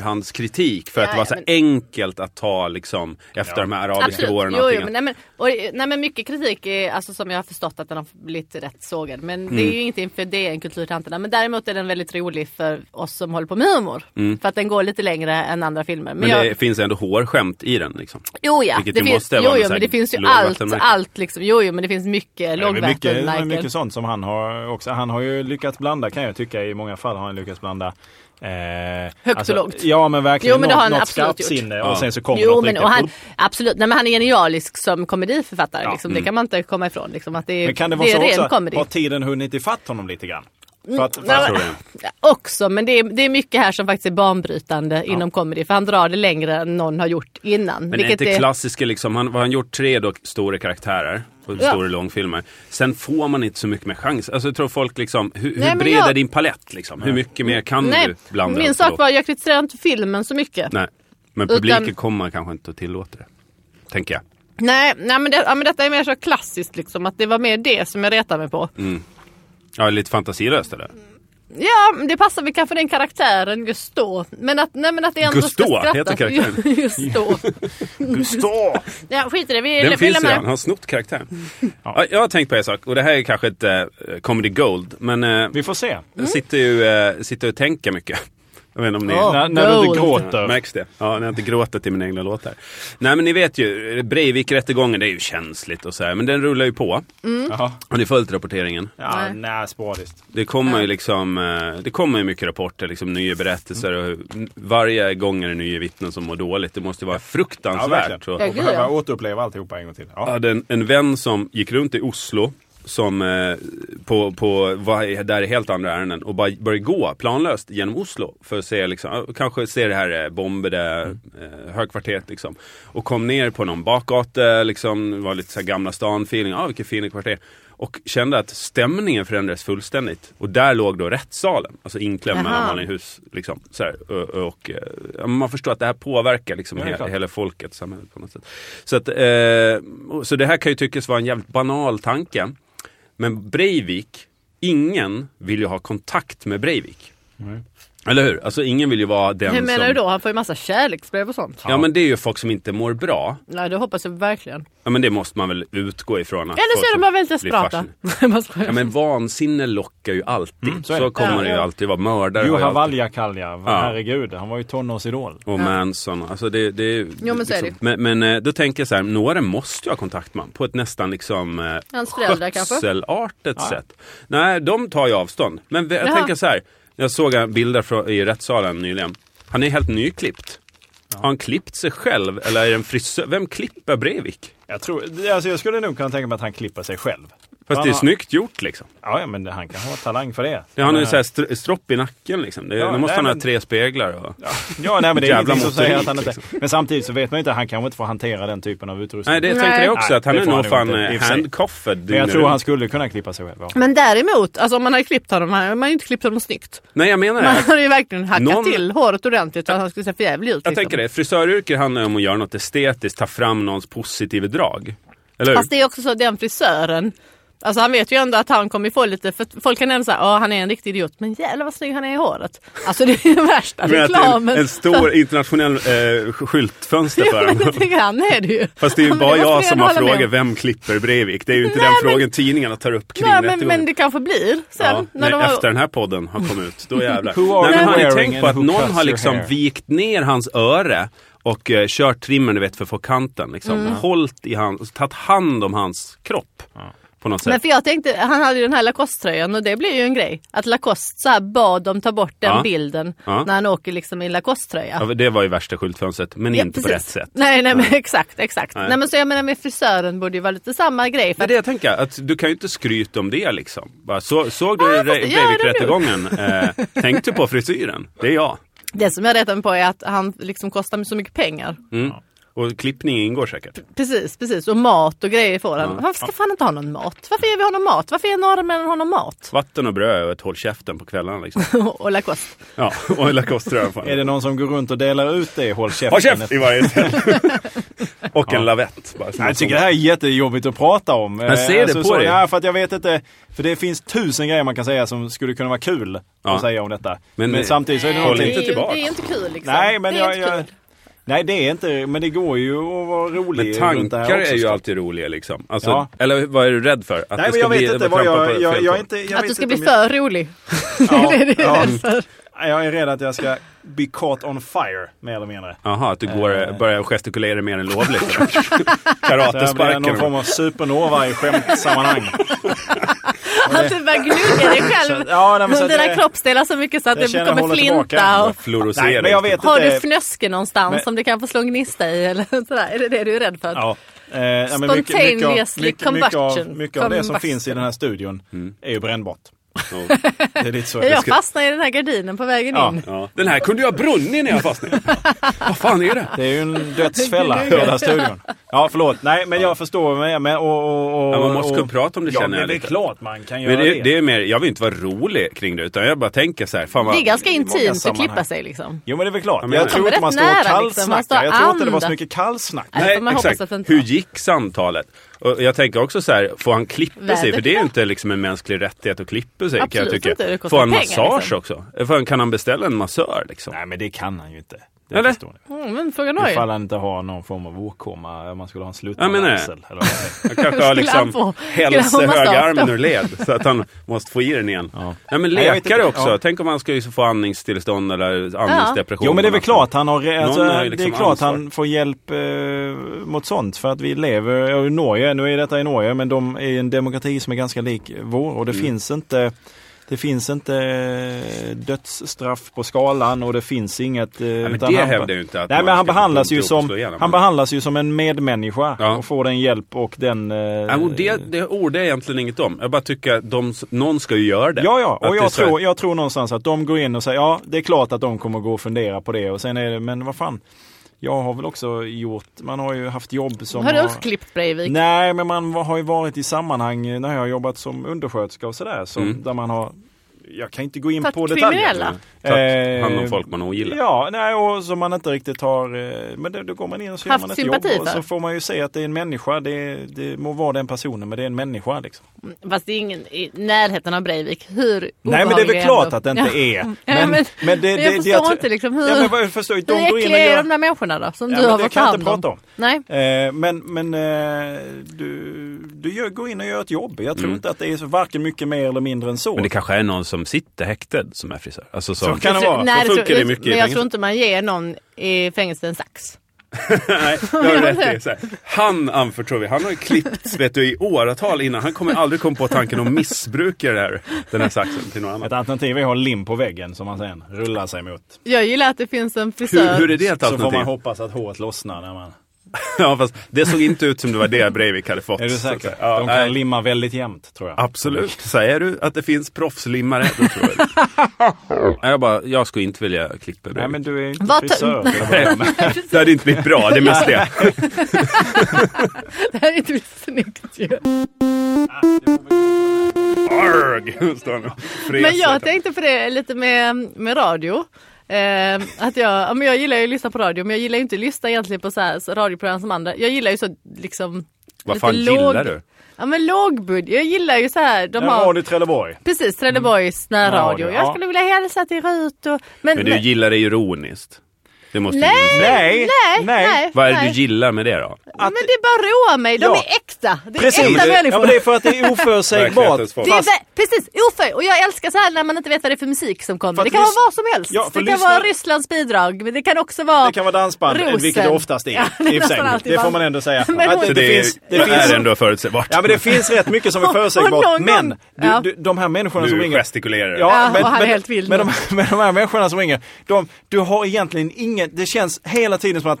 Speaker 2: förhandskritik för att det
Speaker 1: Ja,
Speaker 2: var
Speaker 1: ja,
Speaker 2: så
Speaker 1: men-
Speaker 2: enkelt att ta liksom efter de här arabiska
Speaker 1: Absolut.
Speaker 2: våren och
Speaker 1: Jo, jo,
Speaker 2: allting.
Speaker 1: men, nej, men, och, nej, men mycket kritik är, alltså, som jag har förstått att den har blivit rätt sågad. Men det
Speaker 2: Mm.
Speaker 1: är ju inte inför DN Kulturtanterna. Men däremot är den väldigt rolig för oss som håller på med humor. För att den går lite längre än andra filmer. Men,
Speaker 2: Mm. Men
Speaker 1: jag,
Speaker 2: det finns ändå hårskämt i den liksom.
Speaker 1: jo, ja,
Speaker 2: vilket
Speaker 1: det
Speaker 2: ju
Speaker 1: finns,
Speaker 2: måste vara
Speaker 1: jo, jo,
Speaker 2: en
Speaker 1: men det
Speaker 2: säkert
Speaker 1: finns ju
Speaker 2: låg
Speaker 1: allt,
Speaker 2: vattenmärke.
Speaker 1: allt liksom. Jo, jo, men det finns mycket
Speaker 3: Det är väl mycket, det är
Speaker 1: lågvattenmärken.
Speaker 3: mycket sånt som han har också. Han har ju lyckats blanda kan jag tycka. I många fall har han lyckats blanda. Eh,
Speaker 1: och lågt.
Speaker 3: Ja men verkligen
Speaker 1: Jo, men det
Speaker 3: något,
Speaker 1: har han
Speaker 3: något
Speaker 1: absolut gjort.
Speaker 3: skarpt sinne
Speaker 2: Ja.
Speaker 3: och sen så kommer
Speaker 1: Jo,
Speaker 3: något
Speaker 1: men
Speaker 3: riktigt.
Speaker 1: och han, absolut, nej, men han är genialisk som komediförfattare.
Speaker 3: Ja, mm.
Speaker 1: liksom. Det kan man inte komma ifrån. Liksom, att det är,
Speaker 3: Men kan det vara
Speaker 1: är ren Mm.
Speaker 3: så också?
Speaker 1: comedy.
Speaker 3: Har tiden hunnit ifatt honom lite grann? För att, för
Speaker 1: Nej,
Speaker 3: att,
Speaker 2: tror
Speaker 1: men- Också, men det är, det är mycket här som faktiskt är banbrytande inom comedy. För han drar det längre än någon har gjort innan.
Speaker 2: Men är inte klassiska liksom, han vad har han gjort tre då, stora karaktärer och
Speaker 1: Ja.
Speaker 2: stora långfilmer. Sen får man inte så mycket mer chans. Alltså jag tror folk liksom, hur,
Speaker 1: Nej,
Speaker 2: hur
Speaker 1: men
Speaker 2: bred
Speaker 1: jag-
Speaker 2: är din palett liksom? Hur mycket mer kan
Speaker 1: Nej,
Speaker 2: du blanda?
Speaker 1: min
Speaker 2: och
Speaker 1: sak
Speaker 2: förlåta?
Speaker 1: var jag kritiserar inte filmen så mycket. Nej,
Speaker 2: Nej, men publiken
Speaker 1: Utan-
Speaker 2: kommer kanske inte att tillåta det. Tänker jag.
Speaker 1: nej, men, det, ja, men detta är mer så klassiskt liksom. Att det var mer det som jag retade mig på.
Speaker 2: Ja, lite fantasilöst eller?
Speaker 1: Ja, men det passar väl kanske den karaktären just då. Men att, nej, men att det ändå
Speaker 2: Gusto
Speaker 1: ska skrattas.
Speaker 2: heter karaktären.
Speaker 1: Just då.
Speaker 3: Gustav!
Speaker 1: Ja, skit i det. Vi, vi
Speaker 2: Den finns
Speaker 1: lämnar
Speaker 2: redan,
Speaker 1: det.
Speaker 2: han har snott karaktären.
Speaker 3: Mm.
Speaker 2: Ja, jag har tänkt på en sak och det här är kanske inte eh, comedy gold men eh,
Speaker 3: Vi får se.
Speaker 2: jag sitter ju eh, sitter och tänker mycket. Jag vet inte om ni...
Speaker 1: Ja.
Speaker 3: När, när du inte
Speaker 1: Gold.
Speaker 2: Ja,
Speaker 3: gråter.
Speaker 2: märks det? Ja, när jag inte gråter till mina egna låtar. Nej men ni vet ju, Breivik-rättegången det är ju känsligt och så här, men den rullar ju på.
Speaker 3: Jaha.
Speaker 2: Har ni följt rapporteringen?
Speaker 3: Ja,
Speaker 1: Mm. Nej.
Speaker 3: nej, sporadiskt.
Speaker 2: Det kommer ju liksom, eh, det kommer ju mycket rapporter, liksom nya berättelser och hur- varje gång är det nya vittnen som mår dåligt. Det måste ju vara
Speaker 3: Ja,
Speaker 2: fruktansvärt.
Speaker 3: verkligen.
Speaker 2: Så-
Speaker 1: Ja,
Speaker 3: Och
Speaker 1: gud,
Speaker 3: behöva
Speaker 1: ja.
Speaker 3: återuppleva alltihopa en gång till.
Speaker 2: jag
Speaker 3: Ja.
Speaker 2: hade en, en vän som gick runt i Oslo som eh, på, på var, där är helt andra ärenden och bara började gå planlöst genom Oslo för att se liksom, eh, kanske se det här eh, bombade eh, högkvarteret liksom. Och kom ner på någon bakgata liksom, det var lite så här gamla stan feeling, ja ah, vilket fint kvarter. Och kände att stämningen förändrades fullständigt. Och där låg då rättssalen, alltså inklämd
Speaker 1: Jaha.
Speaker 2: mellan Malinghus. Liksom, så här. Och, och, eh, ja, man förstår att det här påverkar liksom
Speaker 3: Ja, det är
Speaker 2: hela,
Speaker 3: klart.
Speaker 2: hela folket, samhället på något sätt. Så, att, eh, och- så det här kan ju tyckas vara en jävligt banal tanke. Men Breivik, ingen vill ju ha kontakt med Breivik. Eller hur? Alltså ingen vill ju vara den
Speaker 1: Hur menar
Speaker 2: som...
Speaker 1: du då? Han får ju massa kärleksbrev och sånt.
Speaker 2: Ja men det är ju folk som inte mår bra.
Speaker 1: Nej, det hoppas jag verkligen.
Speaker 2: Ja men det måste man väl utgå ifrån. Att
Speaker 1: Eller så
Speaker 2: folk
Speaker 1: är de
Speaker 2: som
Speaker 1: bara väldigt
Speaker 2: blir
Speaker 1: desperata.
Speaker 2: fascinerade.
Speaker 1: Jag skojar.
Speaker 2: Ja men vansinne lockar ju alltid.
Speaker 3: Mm, så
Speaker 2: så
Speaker 3: är det.
Speaker 2: kommer
Speaker 1: Ja,
Speaker 2: det ju
Speaker 1: ja.
Speaker 2: alltid vara. Mördare har ju
Speaker 3: Juha
Speaker 2: alltid-
Speaker 3: Valjakalja, herregud. Han var ju tonårsidol.
Speaker 2: Och Manson. Alltså det, det,
Speaker 1: Jo, men så är
Speaker 2: men, men, eh, då tänker jag så här, några måste ju ha kontakt med honom på ett nästan liksom eh,
Speaker 1: Hans föräldrar kanske?
Speaker 2: skötselartet sätt. Nej, de tar ju avstånd. Men jag
Speaker 1: Jaha.
Speaker 2: tänker så här, jag såg bilder från, i rättssalen nyligen. Han är helt nyklippt. Har han klippt sig själv eller är det en frisör? Vem klipper Breivik?
Speaker 3: Jag, tror, alltså jag skulle nog kunna tänka mig att han klipper sig själv.
Speaker 2: Fast
Speaker 3: Han
Speaker 2: det är
Speaker 3: har-
Speaker 2: snyggt gjort liksom.
Speaker 3: Ja, ja, men han kan ha talang för det. Eh,
Speaker 2: Det, han har ju
Speaker 3: Men,
Speaker 2: så här str- stropp i nacken liksom. Det,
Speaker 3: Ja,
Speaker 2: nu måste
Speaker 3: nej,
Speaker 2: han ha
Speaker 3: men-
Speaker 2: tre speglar. Och...
Speaker 3: Ja, ja nej, men det är
Speaker 2: Jävla
Speaker 3: ingenting som
Speaker 2: motorik, liksom.
Speaker 3: säger att han inte... Men samtidigt så vet man ju inte, han kanske inte får hantera den typen av utrustning.
Speaker 2: Nej, det
Speaker 1: Nej.
Speaker 2: tänkte jag också.
Speaker 3: Nej,
Speaker 2: att han
Speaker 3: det
Speaker 2: är Mm.
Speaker 3: får
Speaker 2: nog fan
Speaker 3: han nog inte,
Speaker 2: eh,
Speaker 3: i och för sig.
Speaker 2: handcuffed.
Speaker 3: men jag
Speaker 2: dygnet
Speaker 3: tror han
Speaker 2: runt.
Speaker 3: skulle kunna klippa sig själv. Ja.
Speaker 1: Men däremot, alltså om man har klippt honom, man man har ju inte klippt honom snyggt.
Speaker 2: Nej, jag menar
Speaker 1: Man
Speaker 2: det.
Speaker 1: har ju verkligen hackat
Speaker 2: Någon-
Speaker 1: till håret ordentligt så att han skulle se för jävlig ut.
Speaker 2: Jag
Speaker 1: liksom.
Speaker 2: tänker det. Frisöryrke handlar om att göra något estetiskt, ta fram någons positiva drag. Eller hur?
Speaker 1: Fast det är också så att den frisören, alltså han vet ju ändå att han kommer få lite, för folk kan nämna såhär, ja han är en riktig idiot, men jävlar vad snygg han är i håret. Alltså det är ju värsta
Speaker 2: Men att det är en,
Speaker 1: reklamen.
Speaker 2: en stor internationell eh, skyltfönster för
Speaker 1: Jo,
Speaker 2: honom.
Speaker 1: men lite grann är det ju.
Speaker 2: Fast det är ju
Speaker 1: Men
Speaker 2: bara
Speaker 1: måste man
Speaker 2: jag som har
Speaker 1: ändå hålla med
Speaker 2: frågor,
Speaker 1: om.
Speaker 2: vem klipper Breivik? Det är ju inte
Speaker 1: Nej,
Speaker 2: den
Speaker 1: men-
Speaker 2: frågan tidningarna tar upp kring
Speaker 1: Nej, men,
Speaker 2: rättegången.
Speaker 1: men det kanske blir sen.
Speaker 2: Ja,
Speaker 1: när
Speaker 2: när
Speaker 1: de har...
Speaker 2: Efter den här podden har kommit ut, då jävlar.
Speaker 3: Who are
Speaker 2: Nej, men
Speaker 3: you
Speaker 2: har ni
Speaker 3: wearing
Speaker 2: tänkt på
Speaker 3: and
Speaker 2: att
Speaker 3: who
Speaker 2: någon
Speaker 3: cuts
Speaker 2: har
Speaker 3: your
Speaker 2: liksom
Speaker 3: hair?
Speaker 2: vikt ner hans öre och eh, kört trimmen, du vet, för att få kanten. Liksom.
Speaker 1: Mm.
Speaker 2: Hållt i hans, tagit hand om hans kropp. På något
Speaker 1: Men
Speaker 2: sätt.
Speaker 1: för jag tänkte, han hade ju den här Lacoste-tröjan och det blir ju en grej. Att Lacoste så här bad dem ta bort den
Speaker 2: Ja.
Speaker 1: bilden
Speaker 2: Ja.
Speaker 1: när han åker liksom i Lacoste-tröja.
Speaker 2: Ja, det var ju värsta skyltfönstret, men
Speaker 1: Ja,
Speaker 2: inte på
Speaker 1: precis.
Speaker 2: rätt sätt.
Speaker 1: Nej, nej men exakt, exakt.
Speaker 2: Nej.
Speaker 1: Nej. men så jag menar med frisören borde ju vara lite samma grej.
Speaker 2: Det
Speaker 1: För
Speaker 2: är
Speaker 1: att,
Speaker 2: det jag tänker, att du kan ju inte skryta om det liksom. Bara, så, såg du
Speaker 1: Ja,
Speaker 2: Re-
Speaker 1: fast det gör det nu.
Speaker 2: Breivik-rättegången? Eh, tänkte du på frisyren? Det är jag.
Speaker 1: det som jag retar mig på är att han liksom kostar mig så mycket pengar.
Speaker 2: Mm. Och klippning ingår säkert.
Speaker 1: Precis, precis. Och mat och grejer får han.
Speaker 2: Ja.
Speaker 1: Varför ska fan inte ha någon mat? Varför ger vi honom mat? Varför ger norrmännen honom mat?
Speaker 2: Vatten och bröd och ett håll käften på kvällarna liksom.
Speaker 1: och Lacoste.
Speaker 2: Ja, och en lacoste på
Speaker 3: Är det någon som går runt och delar ut det i Håll käften?
Speaker 2: Håll käft i varje tält. Och en lavett. Bara,
Speaker 3: Nej, jag tycker det här är jättejobbigt att prata om. Eh, alltså,
Speaker 2: Jag ser det på dig.
Speaker 3: Ja, för att jag vet inte. För det finns tusen grejer man kan säga som skulle kunna vara kul
Speaker 2: Ja.
Speaker 3: att säga om detta.
Speaker 2: Men- eh,
Speaker 3: Men, samtidigt så är det
Speaker 2: Håll
Speaker 3: någonting...
Speaker 1: det, är ju,
Speaker 2: tillbaka.
Speaker 1: det är ju inte kul liksom.
Speaker 3: Nej, men
Speaker 1: det är
Speaker 3: jag,
Speaker 1: inte
Speaker 3: jag,
Speaker 1: kul.
Speaker 3: Nej, det är inte... Men det går ju att vara rolig
Speaker 2: Men
Speaker 3: runt det här
Speaker 2: tankar
Speaker 3: också,
Speaker 2: är ju
Speaker 3: såklart.
Speaker 2: alltid roliga liksom. Alltså,
Speaker 3: Ja.
Speaker 2: Eller vad är du rädd för? Att
Speaker 3: Nej, men jag vet inte vad
Speaker 2: trampa
Speaker 3: jag...
Speaker 2: på
Speaker 3: jag,
Speaker 2: fel
Speaker 3: jag, är
Speaker 2: tå?
Speaker 3: inte jag
Speaker 1: Att
Speaker 3: vet
Speaker 1: du ska
Speaker 3: inte
Speaker 1: bli
Speaker 3: om
Speaker 1: för rolig.
Speaker 3: Ja,
Speaker 1: det är det
Speaker 3: ja.
Speaker 1: jag är rädd för.
Speaker 3: Jag, jag är rädd att jag ska be caught on fire, mer eller mindre.
Speaker 2: Jaha, att du går,
Speaker 3: Eh.
Speaker 2: börjar gestikulera mer än lovligt.
Speaker 3: Så jag blir någon form
Speaker 2: Karatesparken.
Speaker 3: av supernova i skämtsammanhang.
Speaker 1: Att du börjar gnugga dig själv.
Speaker 3: Så- ja, nej, men så
Speaker 1: Dina
Speaker 3: att jag-
Speaker 1: kroppsdelar så mycket så att
Speaker 3: jag
Speaker 1: det
Speaker 3: känner jag
Speaker 1: kommer
Speaker 3: håller tillbaka.
Speaker 1: flinta. Och...
Speaker 2: Fluorescering.
Speaker 3: Nej, men jag vet inte.
Speaker 1: Har du ett fnöske någonstans
Speaker 3: Men-
Speaker 1: som du kan få slå en gnista i eller sådär? Är det det du är rädd för?
Speaker 3: Ja. Eh, ja, men mycket, mycket, av,
Speaker 1: Spontaneously
Speaker 3: mycket, mycket, av,
Speaker 1: combustion.
Speaker 3: mycket av det som
Speaker 1: Combustion.
Speaker 3: finns i den här studion
Speaker 2: Mm.
Speaker 3: är ju brännbart.
Speaker 2: Ja.
Speaker 3: Det är lite så
Speaker 1: jag
Speaker 3: ska-
Speaker 1: fastnade i den här gardinen på vägen
Speaker 3: Ja.
Speaker 1: in.
Speaker 2: Ja. Den här kunde jag ha brunnit när jag fastnade. Vad fan är det?
Speaker 3: Det är ju en dödsfälla, hela studion. Ja, förlåt. Nej, men jag förstår. Men, men, och, och, och,
Speaker 2: Ja, man måste
Speaker 3: och,
Speaker 2: kunna prata om det,
Speaker 3: ja,
Speaker 2: känner
Speaker 3: men
Speaker 2: jag
Speaker 3: det är
Speaker 2: lite.
Speaker 3: klart man kan göra
Speaker 2: Men
Speaker 3: det.
Speaker 2: det, det är mer, jag vill inte vara rolig kring det utan jag bara tänker så här, fan vad...
Speaker 1: Det är ganska
Speaker 3: i många
Speaker 1: intimt att
Speaker 3: sammanhang.
Speaker 1: klippa sig liksom.
Speaker 3: Jo, men det är väl klart.
Speaker 2: Ja, men
Speaker 3: jag
Speaker 2: jag-
Speaker 3: tror
Speaker 1: Ja,
Speaker 3: inte
Speaker 1: men
Speaker 3: man
Speaker 1: rätt
Speaker 3: står
Speaker 1: nära,
Speaker 3: och
Speaker 1: liksom.
Speaker 3: kallsnackar.
Speaker 1: Man står
Speaker 3: jag tror inte det var så
Speaker 1: andas.
Speaker 3: mycket kallsnack.
Speaker 1: Nej,
Speaker 2: Nej,
Speaker 1: får alltså, man hoppas
Speaker 2: exakt.
Speaker 1: att det inte
Speaker 2: Hur
Speaker 1: var.
Speaker 2: gick samtalet? Och jag tänker också så här, får han klippa sig? För
Speaker 1: Vädret
Speaker 2: det är ju
Speaker 1: då?
Speaker 2: inte liksom en mänsklig rättighet att klippa sig. kan
Speaker 1: Absolut
Speaker 2: jag tycka.
Speaker 1: inte, det kostar
Speaker 2: får han
Speaker 1: pengar,
Speaker 2: massage
Speaker 1: liksom.
Speaker 2: också? Får han, kan han beställa en massör liksom?
Speaker 3: Nej, men det kan han ju inte. Det
Speaker 2: Eller?
Speaker 3: förstår ni.
Speaker 1: Mm, men frågan var ju.
Speaker 3: Ifall han inte har någon form av åkomma, om man skulle ha en
Speaker 2: Ja, men nej.
Speaker 3: slutanvänsel. eller vad det är.
Speaker 2: Han kanske har
Speaker 1: Skulle han
Speaker 2: liksom
Speaker 1: få-
Speaker 2: hälse
Speaker 1: skulle han massage
Speaker 2: högerarmen
Speaker 1: då?
Speaker 2: ur led så att han måste få i den igen.
Speaker 3: Ja.
Speaker 2: Nej men
Speaker 3: Nej, jag vet
Speaker 2: läkare
Speaker 3: inte.
Speaker 2: också.
Speaker 3: Ja.
Speaker 2: Tänk om han skulle få andningstillstånd eller andningsdepression.
Speaker 3: Jo men det är väl klart han har, re- alltså,
Speaker 2: Någon har ju
Speaker 3: det
Speaker 2: liksom
Speaker 3: är klart
Speaker 2: ansvar.
Speaker 3: han får hjälp eh, mot sånt för att vi lever, ja, i Norge, nu är detta i Norge, men de är en demokrati som är ganska lik vår och det
Speaker 2: Mm.
Speaker 3: finns inte det finns inte eh, dödsstraff på skalan och det finns inget... eh,
Speaker 2: men
Speaker 3: utan
Speaker 2: det
Speaker 3: han-
Speaker 2: hävdar ju inte att
Speaker 3: Nej
Speaker 2: man
Speaker 3: men han
Speaker 2: ska
Speaker 3: behandlas,
Speaker 2: gå
Speaker 3: ju
Speaker 2: runt och slå
Speaker 3: som,
Speaker 2: ihjäl honom.
Speaker 3: han behandlas ju som en medmänniska
Speaker 2: Ja.
Speaker 3: och får den hjälp och den... eh,
Speaker 2: Ja, Äh, och det, det ordet är egentligen inget om. Jag bara tycker att de, s- någon ska ju göra det.
Speaker 3: Ja, ja.
Speaker 2: Att
Speaker 3: Och
Speaker 2: det är
Speaker 3: jag
Speaker 2: så här-
Speaker 3: tror, jag tror någonstans att de går in och säger ja, det är klart att de kommer gå och fundera på det. Och sen är det, men vad fan. Jag har väl också gjort, man har ju haft jobb som...
Speaker 1: Har du också klippt Breivik?
Speaker 3: Nej, men man har ju varit i sammanhang eh, när jag har jobbat som undersköterska och sådär. som-
Speaker 2: Mm.
Speaker 3: Där man har... Jag kan inte gå in
Speaker 1: Tagit
Speaker 3: på detaljer.
Speaker 1: kriminella?
Speaker 2: Tagit hand om folk man ogillar.
Speaker 3: eh, Ja, nej, och som man inte riktigt har... eh, Men då, då går man in och så gör
Speaker 1: Haft
Speaker 3: man ett jobb.
Speaker 1: sympati
Speaker 3: Och
Speaker 1: för.
Speaker 3: så får man ju se att det är en människa. Det, det må vara den personen, men det är en människa liksom.
Speaker 1: Fast det är ingen i närheten av Breivik. Hur
Speaker 3: Nej men det är väl
Speaker 1: obehaglig
Speaker 3: klart
Speaker 1: ändå.
Speaker 3: att det
Speaker 1: Ja.
Speaker 3: inte är. Men,
Speaker 1: men- men jag förstår
Speaker 3: tror-
Speaker 1: inte liksom hur-
Speaker 3: Ja, men vad- jag förstår, inte, de
Speaker 1: Hur
Speaker 3: går in och
Speaker 1: äckliga är
Speaker 3: gör...
Speaker 1: de där människorna då? Som
Speaker 3: Ja,
Speaker 1: du
Speaker 3: men
Speaker 1: har
Speaker 3: det
Speaker 1: fått
Speaker 3: kan jag
Speaker 1: hand
Speaker 3: inte prata om.
Speaker 1: Nej.
Speaker 3: Eh, Men, men eh, du, du gör, går in och gör ett jobb. Jag tror inte att det är så varken mycket mer eller mindre än så.
Speaker 2: Mm. Men det kanske är någon som sitter häktad som är frisör. Alltså som...
Speaker 3: Så kan det vara.
Speaker 1: Nej,
Speaker 2: Så
Speaker 1: det
Speaker 2: funkar
Speaker 1: tror-
Speaker 2: det mycket i
Speaker 1: men jag
Speaker 2: fängelse.
Speaker 1: tror inte man ger någon i fängelse en sax.
Speaker 2: Nej, det har du rätt i. Så här, Han anförtror vi. Han har ju klippts vet du, i åratal innan. Han kommer aldrig komma på tanken att missbruka det här, den här saxen till någon annan.
Speaker 3: Ett alternativ är att ha lim på väggen som man sen rullar sig mot.
Speaker 1: Jag gillar att det finns en
Speaker 2: Hur,
Speaker 1: frisör.
Speaker 2: hur är det ett
Speaker 3: Så får man
Speaker 2: alternativ?
Speaker 3: hoppas att håret lossnar när man...
Speaker 2: ja, fast det såg inte ut som det var det Breivik hade fått.
Speaker 3: Är du
Speaker 2: så att säga.
Speaker 3: säker?
Speaker 2: Ja,
Speaker 3: De
Speaker 2: nej.
Speaker 3: kan limma väldigt jämnt tror jag.
Speaker 2: Absolut. Säger du att det finns proffslimmare, då tror jag det. Nej, jag, bara, jag skulle inte vilja klippa
Speaker 3: Nej
Speaker 2: Breivik.
Speaker 3: men du är ju inte
Speaker 1: Vad-
Speaker 3: frisör. till att börja med.
Speaker 2: Det hade inte blivit bra, det är mest det.
Speaker 1: Det här är inte snyggt ju.
Speaker 2: Arg! Står han och fräser.
Speaker 1: Men jag tänkte på det lite med, med radio. Eh, att jag, ja, men jag gillar ju att lyssna på radio men jag gillar ju inte att lyssna egentligen på så här så radioprogram som andra. Jag gillar ju så liksom
Speaker 2: Vad
Speaker 1: lite
Speaker 2: fan gillar du?
Speaker 1: Ja men lågbudget. Jag gillar ju så här de
Speaker 3: Ja,
Speaker 1: har
Speaker 3: Radio Trelleborg.
Speaker 1: precis Trelleborgs närradio.
Speaker 3: Närradio,
Speaker 1: Jag
Speaker 3: ja.
Speaker 1: skulle vilja hälsa till Rut och men,
Speaker 2: Men du gillar det ironiskt. Det måste du
Speaker 1: Nej!
Speaker 2: ju säga.
Speaker 3: Nej!
Speaker 1: nej, nej, nej.
Speaker 2: Vad är det du gillar med det då?
Speaker 1: Men det är bara roar mig. De
Speaker 3: Ja.
Speaker 1: är äkta. Det är
Speaker 3: Precis!
Speaker 1: äkta
Speaker 3: Ja, men
Speaker 1: människor.
Speaker 3: det är för att det är oförutsägbart.
Speaker 2: Verklighetens folk.
Speaker 1: Det är
Speaker 3: Fast-
Speaker 1: vä- precis, oföj. Och jag älskar så här när man inte vet vad det är för musik som kommer.
Speaker 3: För
Speaker 1: Det
Speaker 3: att
Speaker 1: kan vara
Speaker 3: lys-
Speaker 1: vad som helst.
Speaker 3: Ja,
Speaker 1: det
Speaker 3: för
Speaker 1: kan
Speaker 3: lyssna-
Speaker 1: vara Rysslands bidrag, men det kan också vara...
Speaker 3: Det kan vara dansband,
Speaker 1: Rosen.
Speaker 3: vilket det oftast är.
Speaker 1: Ja, det är
Speaker 3: i och för sig.
Speaker 1: nästan alltid
Speaker 3: det får
Speaker 1: band.
Speaker 3: man ändå säga.
Speaker 1: Men
Speaker 3: Att
Speaker 1: hon-
Speaker 2: Så
Speaker 3: det,
Speaker 2: det,
Speaker 3: det finns, det
Speaker 2: är
Speaker 3: finns,
Speaker 2: ändå förutsägbart.
Speaker 3: ja, men det finns rätt mycket som är
Speaker 1: Och- och
Speaker 3: förutsägbart.
Speaker 1: någon gång-
Speaker 3: Men
Speaker 1: Ja.
Speaker 3: du, du, de här människorna som
Speaker 2: Du
Speaker 3: ringer.
Speaker 2: gestikulerar.
Speaker 1: Ja, och han är helt vild
Speaker 3: men,
Speaker 1: nu.
Speaker 3: de, men de här människorna som ringer, de, du har egentligen ingen, det känns hela tiden som att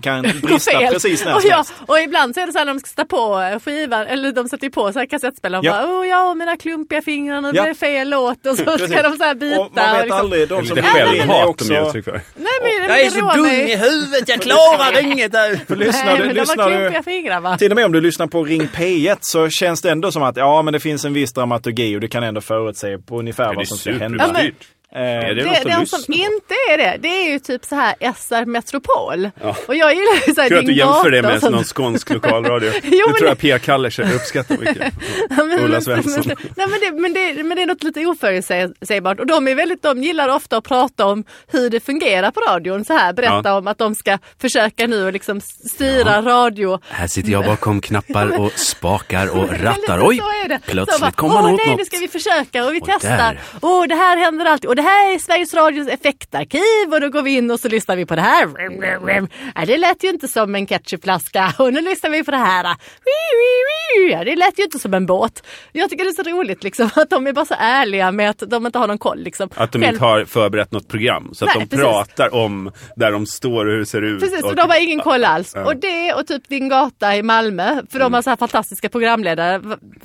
Speaker 3: kan
Speaker 1: går
Speaker 3: brista
Speaker 1: fel.
Speaker 3: precis när
Speaker 1: och,
Speaker 3: som
Speaker 1: jag,
Speaker 3: helst.
Speaker 1: och ibland så är det så här när de ska sätta på eh, skivan, eller de sätter ju på så här kassettspelare och
Speaker 3: Ja.
Speaker 1: bara oh, ja, mina klumpiga fingrar, nu
Speaker 3: Ja.
Speaker 1: blir det fel låt och så ska
Speaker 3: Precis.
Speaker 1: de så här byta.
Speaker 3: Och man vet
Speaker 1: liksom-
Speaker 3: aldrig,
Speaker 2: Det är
Speaker 3: de som
Speaker 2: lite
Speaker 1: Nej, men-
Speaker 2: självhat de ger
Speaker 3: också...
Speaker 2: uttryck för.
Speaker 1: Nej, men, men det roar mig.
Speaker 2: huvudet, jag klarar inget!
Speaker 3: För lyssnar
Speaker 1: Nej,
Speaker 3: du,
Speaker 1: men de har
Speaker 3: lyssnar du,
Speaker 1: klumpiga fingrar va?
Speaker 3: till och med om du lyssnar på Ring P1 så känns det ändå som att ja, men det finns en viss dramaturgi och du kan ändå förutse på ungefär
Speaker 2: Det är
Speaker 3: vad som ska hända.
Speaker 1: Ja, men-
Speaker 2: superdyrt.
Speaker 3: Eh,
Speaker 2: Är det något
Speaker 1: Det,
Speaker 2: att
Speaker 1: den som
Speaker 2: lyssna på?
Speaker 1: inte är det, det är ju typ så här SR Metropol.
Speaker 2: Ja.
Speaker 1: Och jag gillar ju så här
Speaker 2: Kul att du
Speaker 1: Ding
Speaker 2: jämför det
Speaker 1: Dong
Speaker 2: med
Speaker 1: och sånt.
Speaker 2: någon skånsk lokalradio. Det
Speaker 1: men
Speaker 2: tror
Speaker 1: det-
Speaker 2: jag Pia Kallersen uppskattar mycket.
Speaker 1: Ja, men-
Speaker 2: Ulla
Speaker 1: men-
Speaker 2: Svensson.
Speaker 1: Men, nej, men, det, men, det, men det är något lite oförutsägbart och de, är väldigt, de gillar ofta att prata om hur det fungerar på radion. Så här, berätta
Speaker 2: Ja.
Speaker 1: om att de ska försöka nu och liksom styra radio.
Speaker 4: Här sitter jag bakom knappar och spakar och rattar.
Speaker 1: Eller
Speaker 4: Oj,
Speaker 1: så är det. Så bara,
Speaker 4: plötsligt kommer man
Speaker 1: "Åh,
Speaker 4: åt
Speaker 1: nej, nu
Speaker 4: något.
Speaker 1: ska vi försöka och vi
Speaker 4: Och
Speaker 1: testar.
Speaker 4: där.
Speaker 1: Åh, det här händer alltid. Och det här är Sveriges Radios effektarkiv och då går vi in och så lyssnar vi på det här. Rum, rum, rum. Nej, det lät ju inte som en ketchupflaska. Och nu lyssnar vi på det här. Wii, wii, wii. Ja, Det lät ju inte som en båt. Jag tycker det är så roligt liksom, att de är bara så ärliga med att de inte har någon koll. Liksom.
Speaker 2: Att de
Speaker 1: Själv-
Speaker 2: inte har förberett något program. Så att
Speaker 1: Nej,
Speaker 2: de
Speaker 1: precis.
Speaker 2: pratar om där de står och hur det ser ut.
Speaker 1: Precis, och de har ingen koll alls.
Speaker 2: Mm. typ. Ja. Mm.
Speaker 1: Och det och typ Din gata i Malmö, för de har så här fantastiska programledare.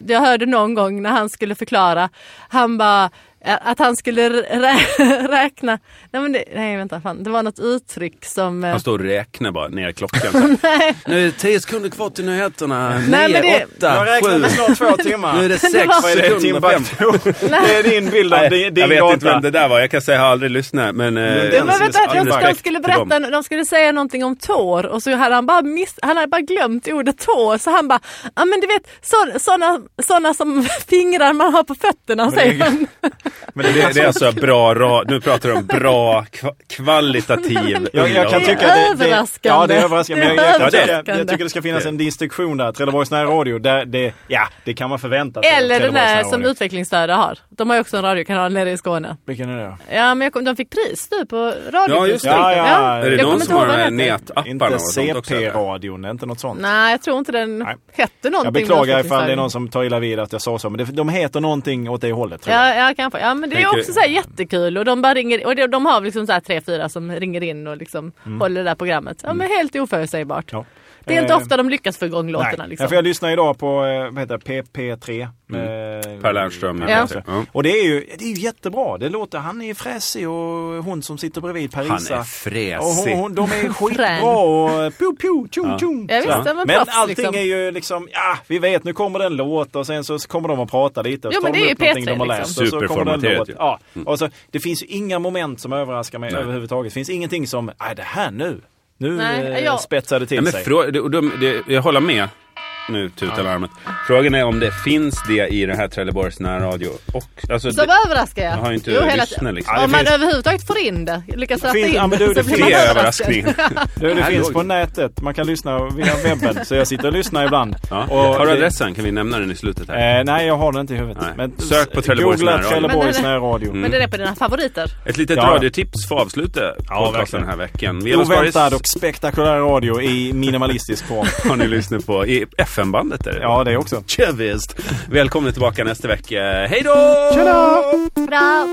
Speaker 1: Jag hörde någon gång när han skulle förklara, han bara eh, att han skulle rä- räkna, nej men det, nej vänta fan, det var något uttryck som... eh,
Speaker 2: Han står och räknar bara ner klockan.
Speaker 1: Nej,
Speaker 4: Nu är det tio sekunder kvar till nyheterna.
Speaker 1: Nej, men det-
Speaker 4: Nio,
Speaker 3: Jag
Speaker 4: åtta,
Speaker 3: räknar
Speaker 4: sju.
Speaker 3: med snart två timmar.
Speaker 4: Nu är det
Speaker 1: Det
Speaker 4: sex
Speaker 1: var-
Speaker 3: Vad är det, Tim
Speaker 4: sekunder fem.
Speaker 3: Bakto? Det är din bild av din, din
Speaker 2: jag vet inte
Speaker 3: gata.
Speaker 2: vem det där var, jag kan säga att jag har aldrig lyssnat. Men, eh,
Speaker 3: det
Speaker 1: men
Speaker 3: var-
Speaker 1: vänta,
Speaker 3: all
Speaker 1: de, de
Speaker 3: respekt
Speaker 1: skulle
Speaker 2: till dem.
Speaker 1: berätta, de skulle säga någonting om tår och så hade han bara, miss, han hade bara glömt ordet tår så han bara, ja men du vet så, sådana, sådana som fingrar man har på fötterna säger han.
Speaker 2: men det, det är alltså bra radio, nu pratar de om bra kva- kvalitativ
Speaker 3: Jag, jag kan
Speaker 1: Det är
Speaker 3: tycka att det,
Speaker 1: överraskande.
Speaker 3: det, ja, det är överraskande. Men jag, jag, kan
Speaker 2: Det är
Speaker 3: tycka- jag,
Speaker 1: överraskande.
Speaker 3: tycker det ska finnas en distinktion där. Trelleborgs närradio, där det, ja, det kan man förvänta sig. av
Speaker 1: Eller den
Speaker 3: Trelleborgs
Speaker 1: där
Speaker 3: närradio.
Speaker 1: som utvecklingsstörda har. De har ju också en radiokanal nere i Skåne.
Speaker 3: Vilken är det?
Speaker 1: Ja, men jag kom, de fick pris du på radio.
Speaker 2: Ja, just det.
Speaker 3: Ja, ja, ja.
Speaker 2: Är det
Speaker 3: Jag
Speaker 2: någon
Speaker 1: kommer
Speaker 2: som
Speaker 1: inte
Speaker 2: har
Speaker 1: ihåg
Speaker 2: de
Speaker 1: vad
Speaker 2: här
Speaker 1: den heter.
Speaker 2: nätapparna?
Speaker 3: Inte
Speaker 2: och sånt också, eller?
Speaker 3: CP-radion, inte något sånt.
Speaker 1: Nej, jag tror inte den
Speaker 3: Nej.
Speaker 1: hette någonting. den
Speaker 3: Jag beklagar
Speaker 1: fick
Speaker 3: ifall det är
Speaker 1: priset.
Speaker 3: någon som tar illa vid att jag sa så, men det, de heter någonting åt det hållet. Tror jag.
Speaker 1: Ja, ja, kanske. Ja, men det är
Speaker 2: Tänker-
Speaker 1: också så här jättekul och de bara ringer och de, de har liksom så här tre, fyra som ringer in och liksom håller det där programmet. Ja, men helt oförutsägbart.
Speaker 3: Mm. Ja.
Speaker 1: Det är inte
Speaker 3: Eh,
Speaker 1: ofta de lyckas få igång
Speaker 3: Nej,
Speaker 1: låtarna
Speaker 3: Ja,
Speaker 1: liksom.
Speaker 3: för jag lyssnar idag på eh, vad heter det, PP3. Mm.
Speaker 2: Per Lernström.
Speaker 1: Ja.
Speaker 2: heter det. Ja.
Speaker 3: Och det är, ju, det är ju jättebra. Det låter, han är fräsig och hon som sitter bredvid Parisa.
Speaker 4: Han är
Speaker 3: Och hon,
Speaker 4: fräsig.
Speaker 3: hon, de är skitbra och pju pju tjong tjong.
Speaker 1: Ja, visst,
Speaker 3: Så.
Speaker 1: de är
Speaker 3: Men
Speaker 1: proffs,
Speaker 3: allting
Speaker 1: liksom.
Speaker 3: är ju liksom, ja vi vet nu kommer det en låt och sen så kommer de att prata lite och
Speaker 1: Jo,
Speaker 3: så
Speaker 1: men
Speaker 3: tar
Speaker 1: det är ju
Speaker 3: de upp någonting
Speaker 1: P3
Speaker 3: de har läst.
Speaker 2: liksom.
Speaker 3: Och så kommer det en
Speaker 2: Superformaterat
Speaker 3: låt.
Speaker 2: ju. Mm.
Speaker 3: Ja. Och så, det finns ju inga moment som överraskar mig
Speaker 2: Nej.
Speaker 3: överhuvudtaget. Det finns ingenting som, nej det här nu, nu
Speaker 1: Nej,
Speaker 3: eh,
Speaker 1: jag-
Speaker 3: spetsar det
Speaker 2: Ja,
Speaker 3: till
Speaker 2: men
Speaker 3: sig.
Speaker 2: frå- det, och de, det, jag håller med. nu tutar larmet. Frågan är om det finns det i den här Trelleborgs närradio. Och, alltså,
Speaker 1: Så
Speaker 2: det,
Speaker 1: vad överraskar jag?
Speaker 2: Jag har ju inte lyssnat, liksom.
Speaker 1: Om
Speaker 2: Ja, det
Speaker 1: man
Speaker 2: finns-
Speaker 1: överhuvudtaget får in det, lyckas ratta
Speaker 3: Finns-
Speaker 1: in
Speaker 3: ja, men du,
Speaker 1: det,
Speaker 3: det
Speaker 1: så blir man
Speaker 2: det är
Speaker 1: överraskad.
Speaker 2: överraskningen.
Speaker 3: Du, det
Speaker 4: Här
Speaker 3: finns
Speaker 4: låg
Speaker 3: på
Speaker 4: det.
Speaker 3: nätet. Man kan lyssna via webben. Så jag sitter och lyssnar ibland.
Speaker 2: Ja.
Speaker 3: Och
Speaker 2: har du
Speaker 3: det-
Speaker 2: adressen? Kan vi nämna den i slutet här?
Speaker 3: Eh, nej, jag har den inte i huvudet.
Speaker 2: Nej. Sök på Trelleborgs
Speaker 3: Googla
Speaker 2: närradio. Mm.
Speaker 3: Trelleborgs
Speaker 1: Men det-
Speaker 3: närradio. Mm.
Speaker 1: Men det är på dina favoriter.
Speaker 2: Ett litet
Speaker 3: Ja.
Speaker 2: radiotips för att avsluta podcasten
Speaker 3: verkligen.
Speaker 2: den här veckan. Vi har
Speaker 3: Oväntad
Speaker 2: varit-
Speaker 3: och spektakulär radio i minimalistisk form.
Speaker 2: har ni lyssnat på. I FM-bandet är det.
Speaker 3: Ja, det också.
Speaker 2: Ja, visst. Välkomna tillbaka nästa vecka. Hej då!
Speaker 1: Bra.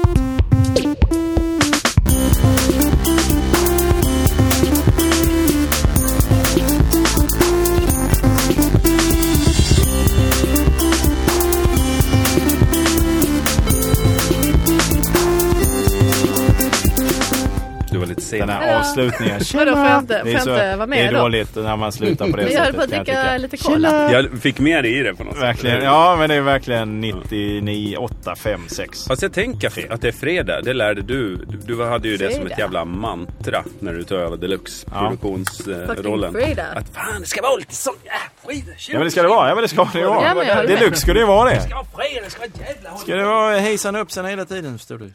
Speaker 2: Du var lite sen.
Speaker 3: Den här avslutningen.
Speaker 1: Vadå, får jag inte, får
Speaker 3: Det är,
Speaker 1: jag
Speaker 3: så,
Speaker 1: inte vara
Speaker 3: det är
Speaker 1: med då?
Speaker 3: dåligt när man slutar på det
Speaker 1: Vi höll på att
Speaker 3: sättet. kan jag
Speaker 1: dricka lite
Speaker 3: tycka.
Speaker 1: cola.
Speaker 2: Jag fick med dig i det på något
Speaker 3: Verkligen.
Speaker 2: sätt.
Speaker 3: Ja, men det är verkligen 99, 8, 5, 6.
Speaker 2: Fast jag tänker att det är fredag, det lärde du. Du, du hade ju det som ett
Speaker 1: Fredag.
Speaker 2: jävla mantra när du tog över
Speaker 1: Fucking
Speaker 2: deluxe-produktionsrollen.
Speaker 1: fredag.
Speaker 2: att fan, det ska vara lite sån... Äh, fredag,
Speaker 3: Ja, men det ska det vara. Ja, men det ska det
Speaker 1: Ja, men jag
Speaker 3: vara.
Speaker 1: håller
Speaker 3: Deluxe
Speaker 1: med.
Speaker 3: skulle det vara det.
Speaker 2: ska vara fredag, det ska vara jävla...
Speaker 3: Ska det vara hejsan och uppsan hela tiden, förstår du?